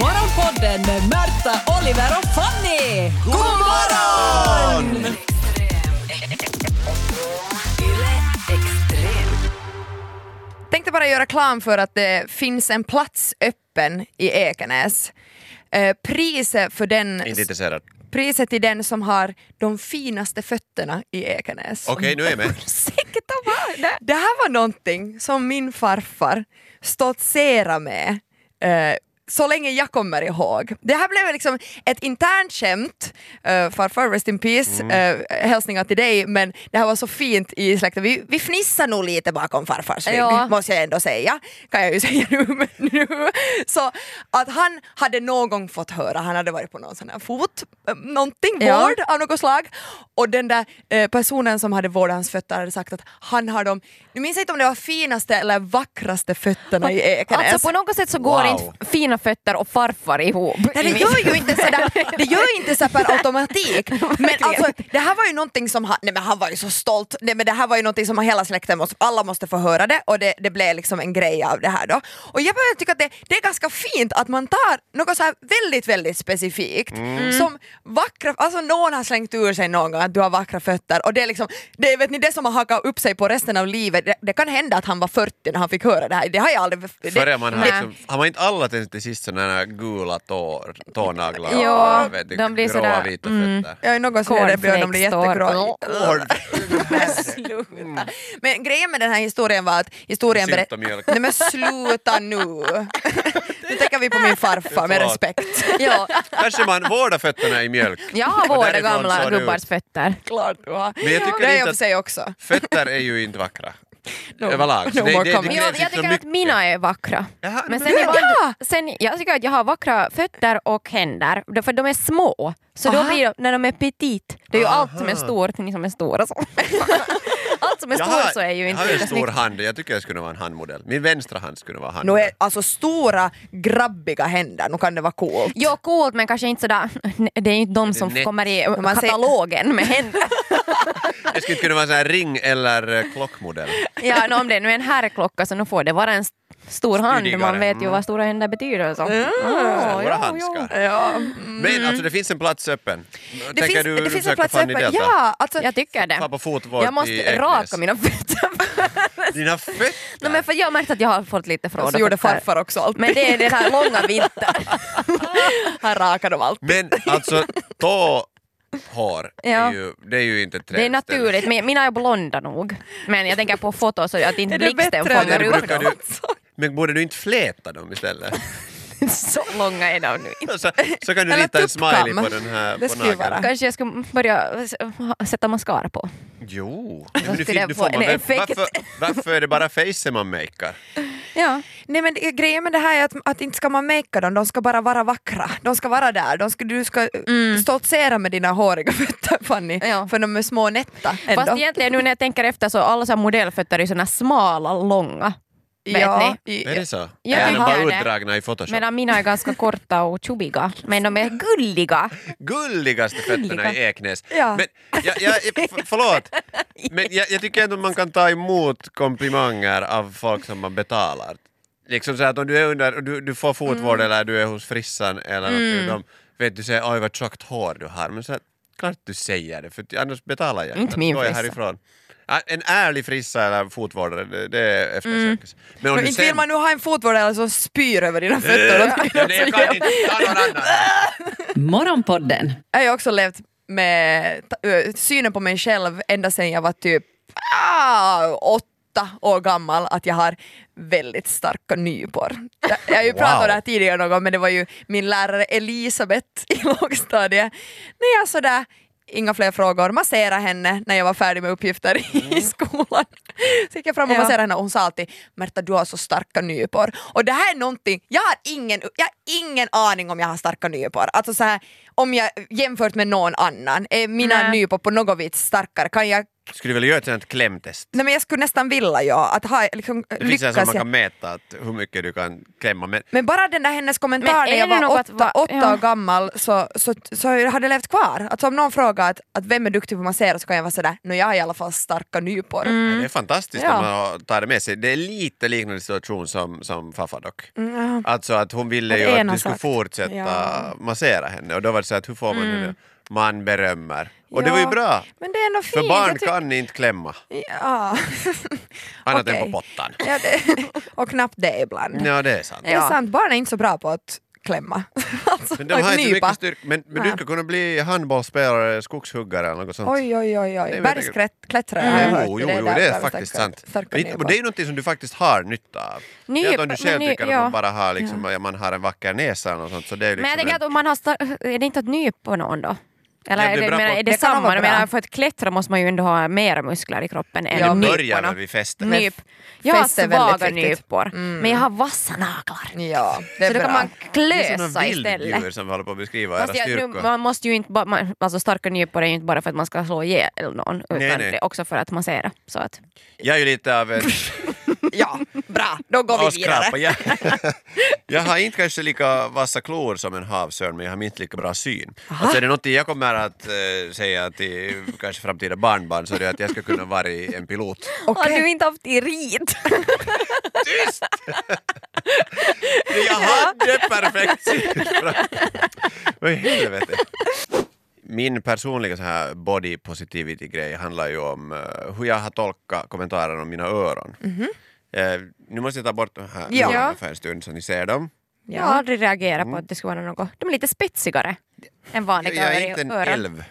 Morgonpodden med Märta, Oliver och Fanny! God morgon! Tänkte bara göra reklam för att det finns en plats öppen i Ekenäs. Eh, Priset för den... Inte intresserad. Priset till den som har de finaste fötterna i Ekenäs. Okej, nu är jag med. Ursäkta, vad? Det- Det här var någonting som min farfar stoltsera med eh, så länge jag kommer ihåg. Det här blev liksom ett internt skämt, eh, farfar rest in peace, Mm. eh, hälsningar till dig, men det här var så fint i släkten. Vi, vi fnissar nog lite bakom farfars rygg, Ja. måste jag ändå säga. Kan jag ju säga nu, men nu. Så att han hade någon gång fått höra, han hade varit på någon sån här fot, eh, någonting, Ja. vård av något slag. Och den där eh, personen som hade vårdat hans fötter hade sagt att han har de, nu minns jag inte om det var finaste eller vackraste fötterna i Ekenäs. Alltså på något sätt så går Wow. inte fina fötter och farfar ihop. Nej, det gör ju inte sådär, det gör inte så per automatik. Men alltså, det här var ju någonting som han, nej men han var ju så stolt, nej men det här var ju någonting som hela släkten, måste, alla måste få höra det och det, det blev liksom en grej av det här då. Och jag börjar tycka att det, det är ganska fint att man tar något så här väldigt, väldigt specifikt som vackra, alltså någon har slängt ur sig någon gång att du har vackra fötter och det är liksom, det, vet ni det som har hakat upp sig på resten av livet, det, det kan hända att han var 40 när han fick höra det här, det har jag aldrig... Det, Före man har, Nej. liksom, har man inte alla till till sist såna här gula tår, tånaglar Ja, vet du, de blir gråa sådär, vita mm. fötter? Ja, i någon skede blev de Cornflakes jättegrå. står- Hård. Sluta. Men grejen med den här historien var att historien Sylt och berätt- mjölk. Nej men sluta nu! nu tänker vi på min farfar med Förlåt. respekt. Ja, Kanske man vårdar fötterna i mjölk. jag har Och vårdat därifrån gamla sår det ut. gubbars fötter. Klart du har. Men jag tycker inte det är jag för att- sig också. Fötter är ju inte vackra. No, Överlag. Så no det- more det- det- comment. Men krävs jag, inte jag så tycker att mycket. mina är vackra. Jaha, Men men sen, Ja! ibland, sen jag tycker att jag har vackra fötter och händer, då- för de är små. Så då Aha. blir de, när de är petit, det är ju allt som är Aha. stort, ni som är stora. Så. allt som är Jag stort har, så är ju jag inte har ju en lika stor snyggt. hand, jag tycker jag skulle vara en handmodell. Min vänstra hand skulle vara Nu handmodell. är, alltså stora grabbiga händer, nu kan det vara coolt. Jo, coolt men kanske inte sådär, det är ju inte de som Nett. kommer i man ser- katalogen med händer. Jag skulle kunna vara en sån här ring eller eh, klockmodell. Ja, no, om det nu är en herrklocka så nu får det vara en st- stor hand. Man Studigare, vet ju mm. vad stora händer betyder. och Så. Mm. Ah, ja, Stora ja. handskar. Ja. mm. Men alltså det finns en plats öppen. Det, Tänker finns, du det finns en försöka plats Fanny öppen. delta? Ja, alltså, Jag tycker det. Tappa fotvård Jag måste i raka Äknäs. mina fötter. Dina fötter? no, men för jag har märkt att jag har fått lite och frågor. så Alltså, gjorde farfar också alltid. Men det är den här långa vintern. Han rakade dem alltid. Men alltså tåhår, Ja. är ju, det är ju inte ett Det är trendställe. naturligt. men Mina är blonda nog. Men jag tänker på foto så att inte Är det blixten bättre fångar än upp brukar dem. du, Men borde du inte fläta dem istället? Så långa är de nu inte. Så, så kan du Eller rita en tuppkam. smiley på den här Det på skulle nageln. vara. Kanske jag ska börja s- ha- sätta mascara på. Jo, Nej, men skulle du, fick- det du få får man en väl- effekt? varför, varför är det bara face man makear? Ja. Nej men det- grejen med det här är att, att inte ska man makea dem, de ska bara vara vackra. De ska vara där, de ska, du ska mm. stoltsera med dina håriga fötter Fanny, Ja. för de är små och nätta ändå. Fast egentligen nu när jag tänker efter så alla så här modellfötter är ju såna här smala, långa. Vet ja, Är det i, så? Jag är de tycker bara det. utdragna i Photoshop? Medan mina är ganska korta och chubbiga. Men de är gulliga. Gulligaste fötterna i Eknäs. Ja. Men, jag, jag, f- förlåt, men jag, jag tycker ändå man kan ta emot komplimanger av folk som man betalar. Liksom så här att om du, är under, du, du får fotvård Mm. eller du är hos frissan eller mm. de, vet du säger oj vad tjockt hår du har. Men så här, klart du säger det för att annars betalar jag Inte min Då är jag frissa. härifrån. Ja, En ärlig frissa eller fotvårdare, det, det är eftersökelse. Men om Mm. men du inte vill sen... man nu ha en fotvårdare som spyr över dina fötter. Ja, det Eh, kan inte ta någon annan. Morgonpodden Jag har ju också levt med ta- ö, synen på mig själv ända sedan jag var typ ah, åtta år gammal att jag har väldigt starka nypor. Jag- Jag har ju Wow. pratat om det här tidigare någon gång men det var ju min lärare Elisabeth i lågstadiet. När jag sådär Inga fler frågor. Massera henne när jag var färdig med uppgifter Mm. i skolan. Så gick jag fram och Ja. masserade henne och hon sa alltid Märta du har så starka nypor. Och det här är någonting, jag har ingen, jag har ingen aning om jag har starka nypor. Alltså så här, om jag jämfört med någon annan, är mina Nej. nypor på något vis starkare? Kan jag Skulle du vilja göra ett sånt klämtest? Nej, men jag skulle nästan vilja ja, att ha, liksom, Det finns en som lyckas man jag. kan mäta att hur mycket du kan klämma. Men Men bara den där hennes kommentar Men när är jag det var något åtta, att va- åtta ja. år gammal så, så, så har det levt kvar. Alltså om någon frågar att, att vem är duktig på att massera så kan jag vara sådär, nå jag har i alla fall starka nypor. Mm. det är fantastiskt Ja. när man tar det med sig. Det är lite liknande situation som, som Fafa dock. Mm, ja. Alltså att hon ville Att ju att en har du skulle sagt. fortsätta Ja. Mm. massera henne och då var det så att hur får man henne? Man berömmer. Och det var ju Ja. bra. Men det är ändå fint. För barn jag tyck- kan inte klämma, Ja. annat än på Okej. pottan. ja det, och knappt det ibland. Ja, det är sant. Det är Ja. sant, barn är inte så bra på att klämma. alltså, Men de har att inte så nypa. mycket styrka. Men, men du Nej. skulle kunna bli handbollsspelare, skogshuggare eller något sånt. Oj, oj, oj, oj. jag Bergsklättrare har jag hört. Jo, jo, jo, det är faktiskt sant. Men inte- och Det är ju någonting som du faktiskt har nytta av. Nypa- det är att om du men själv ny- tycker att ja. man bara har, liksom, ja. man har en vacker näsa och sånt, så det är ju liksom Men jag tänker att en- om man har star- är det inte att nypa någon då? Eller Ja, är det är det, bra men, på- är det, Det kan nog samma? vara Jag menar, bra. för att klättra måste man ju ändå ha mera muskler i kroppen än Ja. det börjar nyporna. när vi fäster. Nyp. Jag har fest är väldigt svaga viktigt. nypor, men jag har vassa naglar. Ja, det är så då bra. kan man Det är sådana klösa vilddjur istället. som vi håller på att beskriva, Fast jag, era nu, styrkor. man måste ju inte bara, man, alltså starka nypor är ju inte bara för att man ska slå ihjäl någon utan Nej, nej. det är också för att massera. Så att, Jag är ju lite av en... Ja, bra. Då går Och vi vidare. skrapa. Jag, jag har inte kanske lika vassa klor som en havsörn men jag har minst lika bra syn. Alltså är det något jag kommer att eh, säga till kanske framtida barnbarn så är det att jag ska kunna vara en pilot. Har du inte haft i rit? Tyst! jag hade perfekt syn. Vad i helvete? Min personliga så här body positivity-grej handlar ju om eh, hur jag har tolkat kommentarerna om mina öron. Mhm. Eh, nu måste jag ta bort de här Ja. öronen för en stund så ni ser dem. Jag har aldrig reagerat på att det skulle vara något. De är lite spetsigare än vanliga Mm. jag öron- är inte en öron. älv.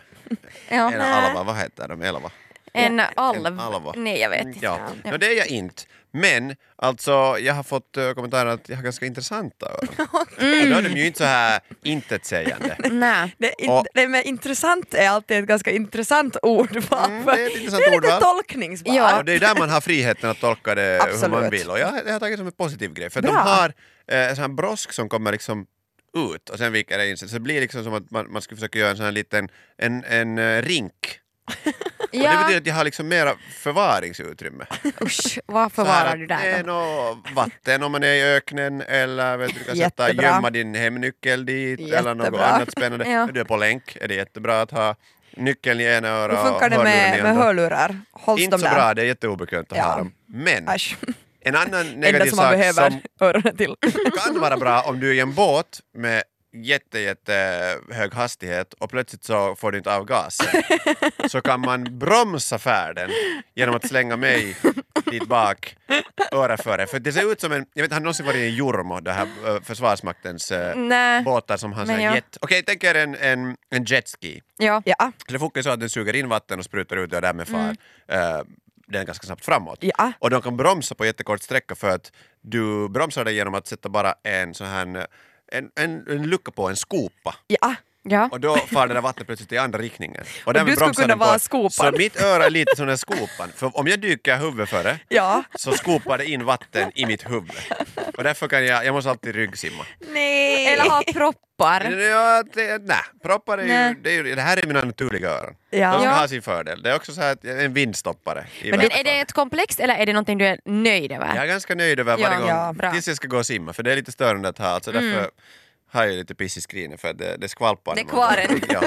Ja. En alva, vad heter de? Elva? En alv. En alva. Nej, jag vet inte. Ja. No, det är jag inte. Men alltså, jag har fått eh, kommentarer att jag har ganska intressanta öron. Och då är Mm. de ju inte så här intetsägande. Nej. Det, är Och- in, det med intressant är alltid ett ganska intressant ord. va? Mm, det är ett intressant det är ordval. lite tolkningsbart. Ja. Och det är där man har friheten att tolka det hur man Absolut. vill. Och jag, jag har tagit det som en positiv grej. För att de Bra. har eh, sån här brosk som kommer liksom ut och sen viker det in sig. Så det blir liksom som att man, man skulle försöka göra en sån här liten en, en eh, rink. Och det Ja. betyder att jag har liksom mera förvaringsutrymme. Usch, vad Så här förvarar att du Det är där då? nå vatten om man är i öknen eller vet du, du kan sätta, Jättebra. gömma din hemnyckel dit eller något Jättebra. annat spännande. Ja. Du är på länk, är det jättebra att ha nyckeln i ena örat Hur funkar och det hörluren i med, andra. med hörlurar? Hålls Inte de så där? bra, det är jätteobekvämt att ha Ja. dem. Men Äsch. en annan Enda negativ som man sak behöver som öronen till. kan vara bra om du är i en båt med jätte, jätte hög hastighet och plötsligt så får du inte av gasen. Så kan man bromsa färden genom att slänga mig dit bak, öra före. För det ser ut som en, jag vet har ni någonsin varit i en Jormo, det här eh, försvarsmaktens eh, Nej. båtar som har sån Men här ja. jet. Okej, tänk er en, en, en jetski. Ja. Ja, Så det funkar ju så att den suger in vatten och sprutar ut det och därmed far Mm. eh, den ganska snabbt framåt. Ja. Och de kan bromsa på jättekort sträcka för att du bromsar dig genom att sätta bara en sån här eh, en, en, en lucka på en skopa ja. Ja. och då far det där vattnet plötsligt i andra riktningen. Och, därmed du skulle bromsar kunna den på. vara skopan. Så mitt öra är lite som den här skopan. För om jag dyker huvudet före Ja. så skopar det in vatten i mitt huvud. Och därför kan jag, jag måste alltid ryggsimma. Nej. Eller ha proppar. Ja, det, nej, proppar är ju, Nej. det, är ju, det här är mina naturliga öron. Ja. De ska Ja. ha sin fördel. Det är också så här att jag är en vindstoppare. i Men värsta är fall. det ett komplext eller är det någonting du är nöjd över? Jag är ganska nöjd över varje Ja, gång, ja, bra. Mm. tills jag ska gå och simma, för det är lite störande att ha. Alltså Därför har jag lite piss i skrinet, för att det, det skvalpar. Det är när man går. kvaren. Ja.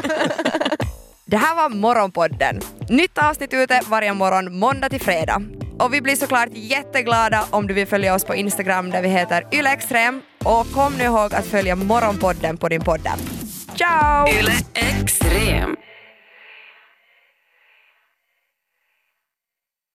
Det här var Morgonpodden. Nytt avsnitt ute varje morgon måndag till fredag. Och vi blir såklart jätteglada om du vill följa oss på Instagram där vi heter ylextrem. Och kom nu ihåg att följa Morgonpodden på din poddapp. Ciao! Yle Extrem.